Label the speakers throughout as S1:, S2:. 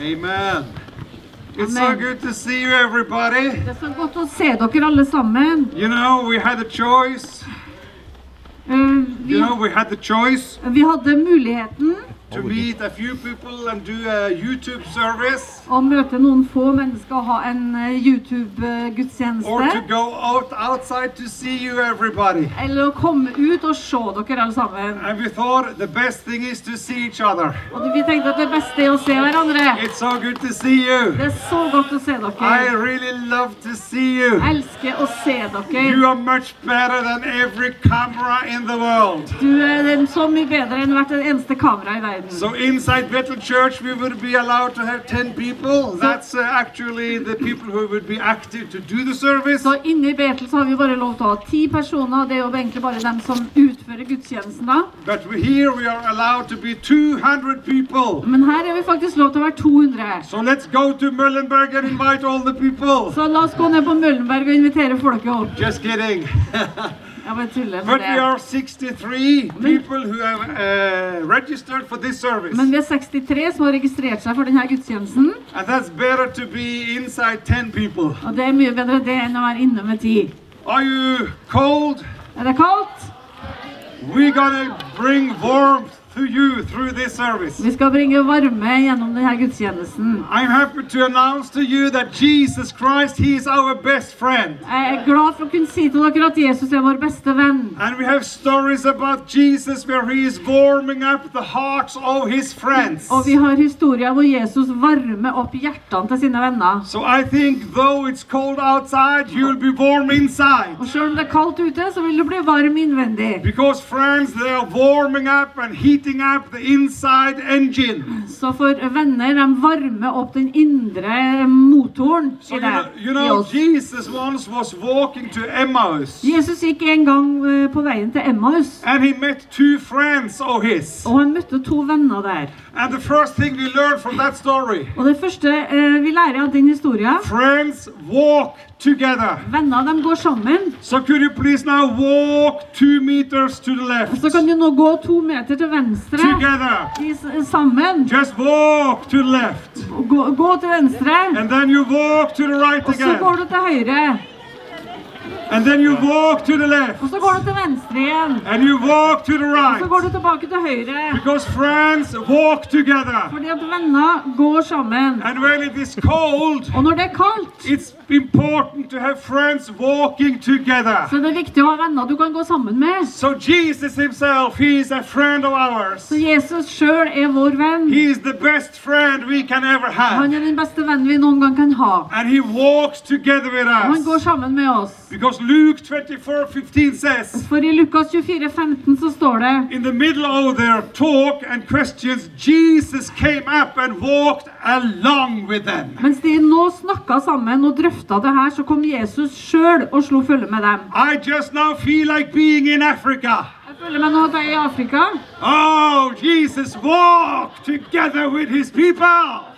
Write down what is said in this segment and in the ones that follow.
S1: Amen. It's so
S2: Amen.
S1: good to see you, everybody.
S2: Det er så godt å se dere alle sammen.
S1: You know, we had a choice.
S2: Eh, vi,
S1: You know, we had the choice
S2: vi hadde muligheten
S1: to meet a few people and do a YouTube service
S2: å møte noen få mennesker og ha en eh,
S1: or to
S2: YouTube-gudstjeneste.
S1: go out outside to see you, everybody.
S2: Eller å komme ut og se dere alle sammen.
S1: And we thought the best thing is to see each other.
S2: Og vi tenkte at det beste er å se hverandre.
S1: It's so good to see you.
S2: Det er så godt å se
S1: I
S2: dere.
S1: really love to see you.
S2: Jeg elsker å se
S1: You
S2: dere.
S1: are much better than every camera in the world.
S2: Du er den så mye bedre enn hvert eneste kamera i verden.
S1: So inside Bethel Church, we would be allowed to have 10 people. That's uh, actually the people who would be active to do the service.
S2: Så inne i Betel så har vi bare lov til å ha ti personer, og det er jo egentlig bare dem som utfører gudstjenesten da.
S1: But we- here we are allowed to be 200 people.
S2: Men her er vi faktisk lov til å være 200.
S1: So let's go to Möllenberg and invite all the people.
S2: Så la oss gå ned på Møllenberg og invitere folket opp.
S1: Just kidding.
S2: Jeg bare tuller
S1: but
S2: med
S1: we
S2: det.
S1: are 63 people who have uh, registered for this service.
S2: Men vi er 63 som har registrert seg for denne gudstjenesten,
S1: And that's better to be inside 10 people.
S2: og det er mye bedre det enn å være inne med ti.
S1: Are you cold?
S2: Er det kaldt?
S1: We're gonna bring warmth to you through this service.
S2: Vi skal bringe varme gjennom denne gudstjenesten.
S1: I'm happy to announce to you that Jesus Christ, He is our best friend.
S2: Jeg er glad for å kunne si til dere at Jesus er vår beste venn.
S1: And we have stories about Jesus where He is warming up the hearts of His friends.
S2: Og vi har historier hvor Jesus varmer opp hjertene til sine venner.
S1: So I think though it's cold outside, you'll be warm inside.
S2: Og selv om det er kaldt ute, så vil du bli varm innvendig.
S1: Because friends, they are warming up and heating up the inside engine.
S2: Så for venner, de varmer opp den indre motoren
S1: So
S2: i
S1: you
S2: deg.
S1: know, you
S2: i
S1: know
S2: oss.
S1: Jesus once was walking to Emmaus,
S2: Jesus gikk en gang eh, på veien til Emmaus,
S1: and he met two friends of his.
S2: og han møtte to venner der.
S1: And the first thing we learned from that story
S2: Og det første eh, vi lærer av den historien
S1: Friends, walk together.
S2: Venner de går sammen.
S1: So could you please now walk two meters to the left?
S2: Så kan du nå gå to meter til venstre.
S1: Together.
S2: I s- eh, Sammen.
S1: Just walk to the left.
S2: Og Gå, gå til venstre.
S1: And then you walk to the right
S2: Og så går
S1: again.
S2: du til høyre.
S1: And then you walk to the left.
S2: Og så går du til venstre igjen.
S1: And you walk to the
S2: Og så går
S1: right.
S2: du tilbake til høyre.
S1: Because friends walk together.
S2: Fordi at venner går sammen.
S1: And when it is cold,
S2: Og når det er kaldt,
S1: it's important to have friends walking together.
S2: så er det viktig å ha venner du kan gå sammen med.
S1: So Jesus himself, he is a friend of ours.
S2: Så Jesus sjøl er vår venn.
S1: He is the best friend we can ever have.
S2: Han er den beste vennen vi noen gang kan ha.
S1: And he walks together with
S2: Og han går
S1: us.
S2: sammen med oss.
S1: Because Luke 24 15 says,
S2: For i Lukas 24, 15 så står det
S1: in the middle of their talk and questions, Jesus came up and walked along with them.
S2: Mens de nå snakka sammen og drøfta det her, så kom Jesus sjøl og slo følge med dem.
S1: I just now feel like being in Africa.
S2: Jeg føler meg nå at jeg er i Afrika.
S1: Oh, Jesus walked together with his people.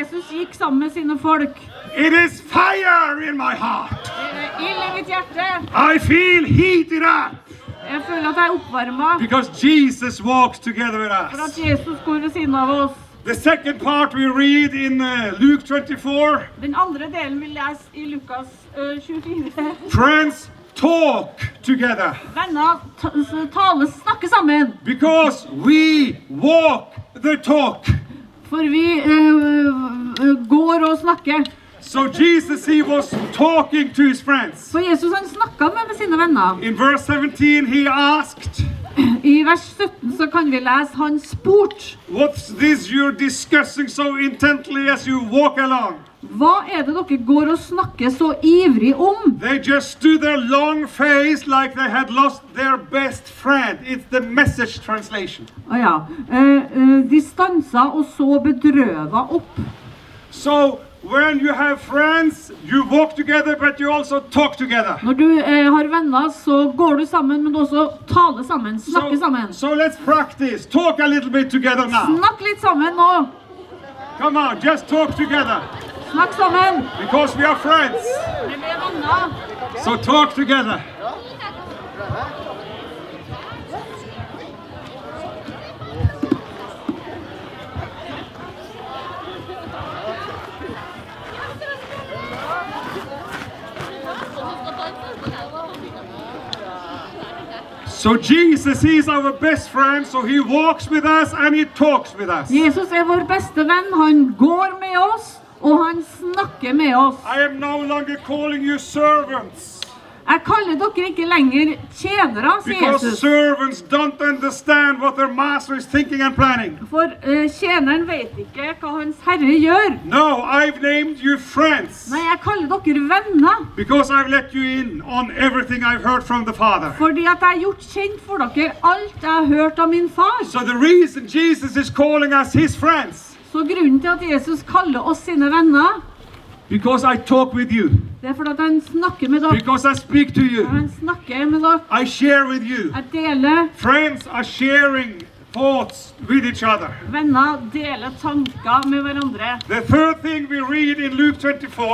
S2: Jesus gikk sammen med sine folk.
S1: It is fire in my heart.
S2: Det er ild i mitt hjerte.
S1: I feel heated up
S2: Jeg føler at jeg er oppvarma
S1: because Jesus walks together with
S2: for at
S1: us.
S2: Jesus går ved siden av oss.
S1: The second part we read in uh, Luke 24
S2: Den andre delen vi leser i Lukas eh, ø, 24.
S1: Friends talk together
S2: Venner ta- s- tale, snakke sammen.
S1: because we walk the talk.
S2: For vi ø, ø, går og snakker.
S1: So Jesus, he was talking to his friends.
S2: For Jesus han snakka med, med sine venner.
S1: In verse 17, he asked,
S2: I vers 17 så kan vi lese han spurt.
S1: What's this you're discussing so intently as you walk along?
S2: Hva er det dere går og snakker så ivrig om?
S1: They just stood there long faced like they had lost their best friend. It's the message translation.
S2: Å ja. Eh, eh, de stansa og så bedrøva opp.
S1: So when you have friends, you walk together, but you also talk together.
S2: Når du eh, har venner, så går du sammen, men også taler sammen. Snakker sammen.
S1: so let's practice. Talk a little bit together now.
S2: Snakk litt sammen nå.
S1: Come on, just talk together
S2: Snakk sammen.
S1: because we are friends.
S2: Vi blir venner.
S1: So talk together. So Jesus, he's our best friend, so he walks with us and he talks with us.
S2: Jesus er vår beste venn. Han går med oss, og han snakker med oss.
S1: I am no longer calling you servants
S2: Jeg kaller dere ikke lenger tjenere, sier
S1: because
S2: Jesus.
S1: servants don't understand what their master is thinking and planning.
S2: For eh, tjeneren vet ikke hva hans herre gjør.
S1: No, I've named you friends
S2: Nei, jeg kaller dere venner,
S1: because I've let you in on everything I've heard from the Father.
S2: fordi at jeg har gjort kjent for dere alt jeg har hørt av min far.
S1: So the reason Jesus is calling us his friends
S2: Så grunnen til at Jesus kaller oss sine venner,
S1: because I talk with you,
S2: det er fordi at han snakker med dere.
S1: because I speak to you,
S2: Han snakker med dere.
S1: I share with you.
S2: Jeg deler
S1: Friends are sharing thoughts with each other.
S2: venner, deler tanker med hverandre.
S1: The third thing we read in Luke 24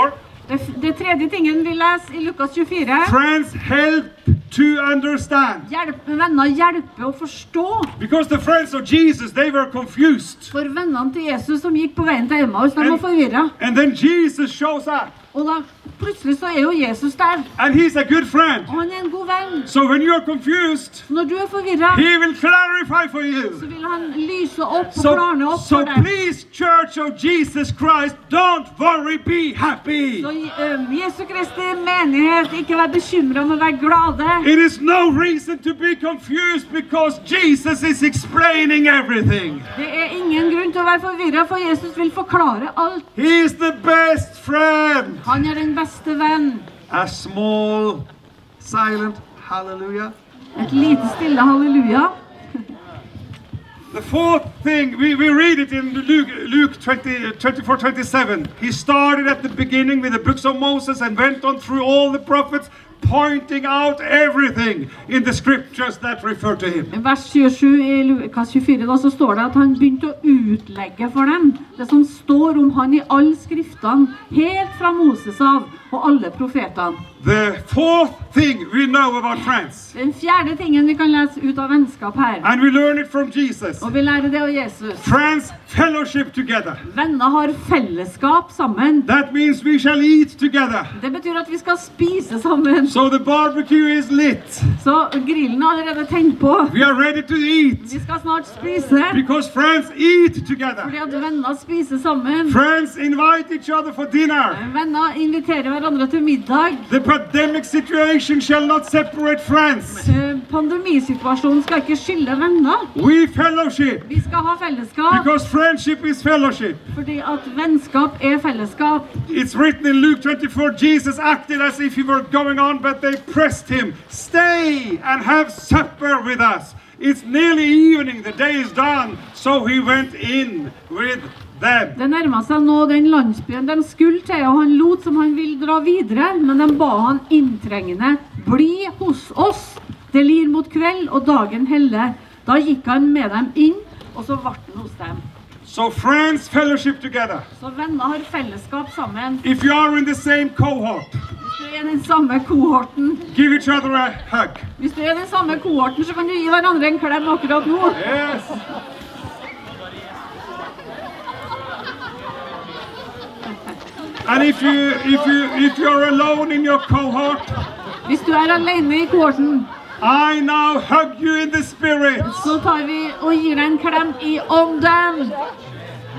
S2: Det, f- det tredje tingen vi leser i Lukas 24
S1: friends help to understand.
S2: hjelp, Venner hjelper å forstå.
S1: Because the friends of Jesus, they were confused.
S2: For vennene til Jesus som gikk på veien til Emmaus, de var forvirra.
S1: And then Jesus shows up
S2: Og da plutselig så er jo Jesus der.
S1: and he's a good friend.
S2: Og han er en god venn.
S1: So when you're confused,
S2: Så når du er forvirra,
S1: he will clarify for
S2: så
S1: you.
S2: vil han lyse opp og klarne
S1: So,
S2: opp
S1: so
S2: for deg.
S1: please, Church of Jesus Christ, don't worry, be happy.
S2: Så eh, Jesu Kristi menighet, ikke vær bekymra, men vær glade.
S1: It is no reason to be confused because Jesus is explaining everything.
S2: Det er ingen grunn til å være forvirra, for Jesus vil forklare alt.
S1: He is the best friend.
S2: Han er den beste venn.
S1: A small, silent hallelujah.
S2: Et lite stille halleluja.
S1: The fourth thing, we, we read it in Luke, Luke 20, 24 27. He started at the beginning with the books of Moses and went on through all the prophets, pointing out everything in the scriptures that refer to him.
S2: I vers 27 i Lukas 24 da, så står det at han begynte å utlegge for dem det som står om han i alle skriftene, helt fra Moses av og alle profetene.
S1: The fourth thing we know about friends,
S2: Den fjerde tingen vi kan lese ut av vennskap her,
S1: and we learn it from Jesus.
S2: og vi lærer det av Jesus
S1: Friends fellowship together.
S2: Venner har fellesskap sammen.
S1: That means we shall eat together.
S2: Det betyr at vi skal spise sammen.
S1: So the barbecue is lit.
S2: Så grillen er allerede tenkt på.
S1: We are ready to eat
S2: Vi skal snart spise.
S1: because friends eat together.
S2: Fordi at venner spiser sammen.
S1: Friends invite each other for dinner.
S2: Venner inviterer hverandre til middag.
S1: The pandemic situation shall not separate friends.
S2: Eh, Pandemisituasjonen skal ikke skille venner.
S1: We fellowship
S2: Vi skal ha fellesskap
S1: because friendship is fellowship.
S2: fordi at vennskap er fellesskap.
S1: It's written in Luke 24 Jesus acted as if he were going on, but they pressed him. Stay and have supper with us. It's nearly evening, the day is done. So he went in with them.
S2: Det nærma seg nå den landsbyen de skulle til, og han lot som han ville dra videre, men de ba han inntrengende bli hos oss. Det lir mot kveld, og dagen heller. Da gikk han med dem inn, og så ble han hos dem.
S1: So friends fellowship together.
S2: Så venner har fellesskap sammen.
S1: If you are in the same cohort,
S2: Hvis du er i den samme kohorten,
S1: give each other a hug.
S2: hvis du er i den samme kohorten, så kan du gi hverandre en klem akkurat nå.
S1: Yes. And if you if you if you're alone in your cohort,
S2: Hvis du er alene i kohorten,
S1: I now hug you in the spirit.
S2: så tar vi og gir deg en klem i ånden.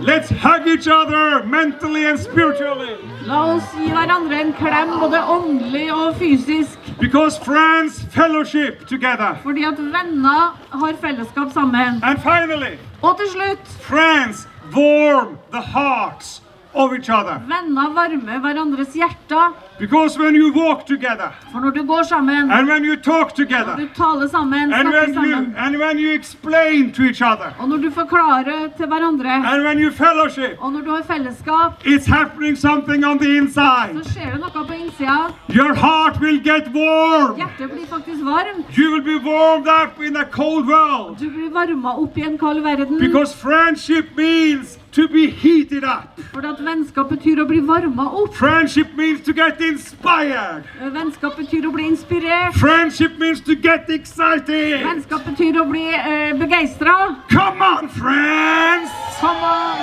S1: Let's hug each other mentally and spiritually.
S2: La oss gi hverandre en klem, både åndelig og fysisk.
S1: Because friends fellowship together.
S2: Fordi at venner har fellesskap sammen.
S1: And finally,
S2: Og til slutt,
S1: friends warm the hearts of each other.
S2: venner varmer hverandres hjerter.
S1: Because when you walk together
S2: For når du går sammen,
S1: and when you talk together
S2: du taler sammen,
S1: and
S2: snakker
S1: when you
S2: sammen.
S1: and when you explain to each other
S2: Og når du forklarer til hverandre,
S1: and when you fellowship
S2: og når du har fellesskap,
S1: it's happening something on the
S2: så
S1: inside
S2: skjer det noe på innsida.
S1: your heart will get warm
S2: Hjertet blir faktisk varmt.
S1: you will be warmed up in a cold world
S2: Du blir varma opp i en kald verden.
S1: because friendship means to be heated up
S2: Fordi at vennskap betyr å bli varma opp.
S1: friendship means to get inspired
S2: Vennskap betyr å bli inspirert.
S1: friendship means to get excited
S2: Vennskap betyr å bli eh, begeistra.
S1: come on friends
S2: Kom og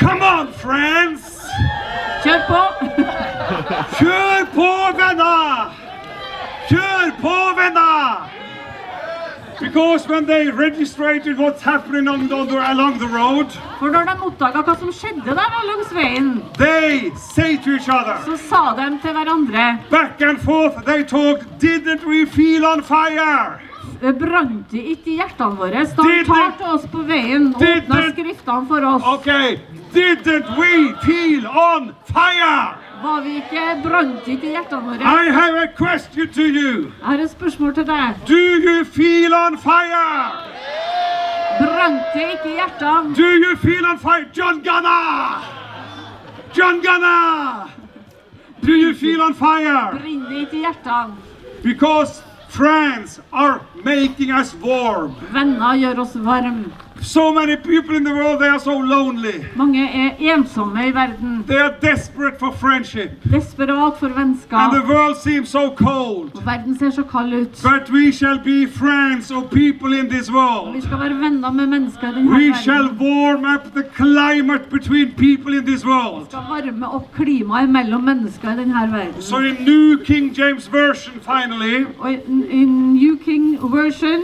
S1: come on friends
S2: kjør på!
S1: Kjør på, venner! Kjør på, venner! Because when they registered what's happening on the, on the- along the road,
S2: For når de oppdaga hva som skjedde der langs veien,
S1: they say to each other,
S2: så sa de til hverandre
S1: back and forth, they talked, didn't we feel on fire?
S2: Brant det ikke i hjertene våre? Da han
S1: Did
S2: tar
S1: it-
S2: til oss på veien og
S1: Did
S2: åpna
S1: it-
S2: skriftene for oss,
S1: Okay, didn't we feel on fire?
S2: var vi ikke Brant det ikke i hjertene våre?
S1: I have a question to you.
S2: Jeg har et spørsmål til deg.
S1: Do you feel on fire?
S2: Brant det ikke i hjertene?
S1: Do you feel on fire? John Gunnar! John Gunnar! Do you feel on fire?
S2: Brenner det ikke i hjertene?
S1: Because friends are making us warm.
S2: Venner gjør oss varme.
S1: So many people in the world, they are so lonely.
S2: Mange er ensomme i verden.
S1: They are desperate for friendship.
S2: Desperat for
S1: And
S2: vennskap.
S1: the world seems so cold.
S2: Og verden ser så kald ut.
S1: But we shall be friends of people in this
S2: Vi
S1: world.
S2: skal være venner med mennesker i denne
S1: We
S2: verden.
S1: shall warm up the climate between people in this world.
S2: skal varme opp klimaet mellom mennesker i denne verden.
S1: So in New King James Version, finally,
S2: Og i, i New King Version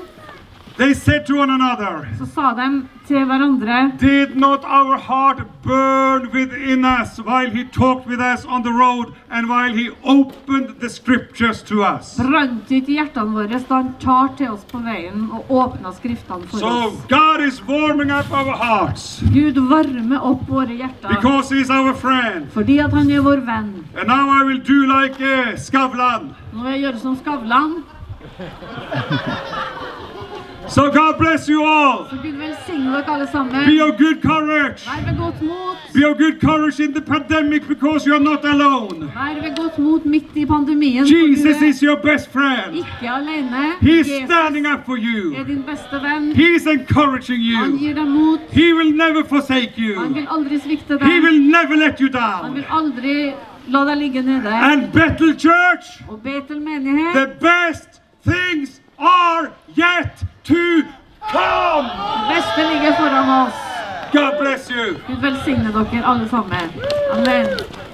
S1: they said to one another,
S2: så sa de til hverandre
S1: Did not our heart burn within us while he talked with us on the road and while he opened the scriptures to us?
S2: Brant det ikke i hjertene våre da han tar til oss på veien og åpner skriftene for
S1: So
S2: oss.
S1: God is warming up our hearts
S2: Gud varmer opp våre hjerter
S1: because he's our friend.
S2: fordi at han er vår venn.
S1: And now I will do like uh, Skavlan.
S2: Nå vil jeg gjøre som Skavlan.
S1: So God bless you all.
S2: Så Gud velsigne dere alle
S1: Be
S2: sammen.
S1: of good courage.
S2: Vær ved godt mot.
S1: Be of good courage in the pandemic because you are not alone.
S2: Vær ved godt mot midt i pandemien. for
S1: Jesus
S2: du er
S1: is your best friend.
S2: ikke alene.
S1: He's
S2: Jesus
S1: standing up for
S2: er
S1: you.
S2: din beste venn.
S1: He's encouraging
S2: Han
S1: you.
S2: gir deg mot.
S1: He will never forsake
S2: Han
S1: you.
S2: vil aldri svikte
S1: He
S2: deg.
S1: will never let you
S2: Han
S1: down.
S2: vil aldri la deg ligge nede.
S1: And Bethel Church,
S2: Og Betel menighet,
S1: the best things are yet to come.
S2: det beste ligger foran oss.
S1: God bless you.
S2: Gud velsigne dere alle sammen. Amen.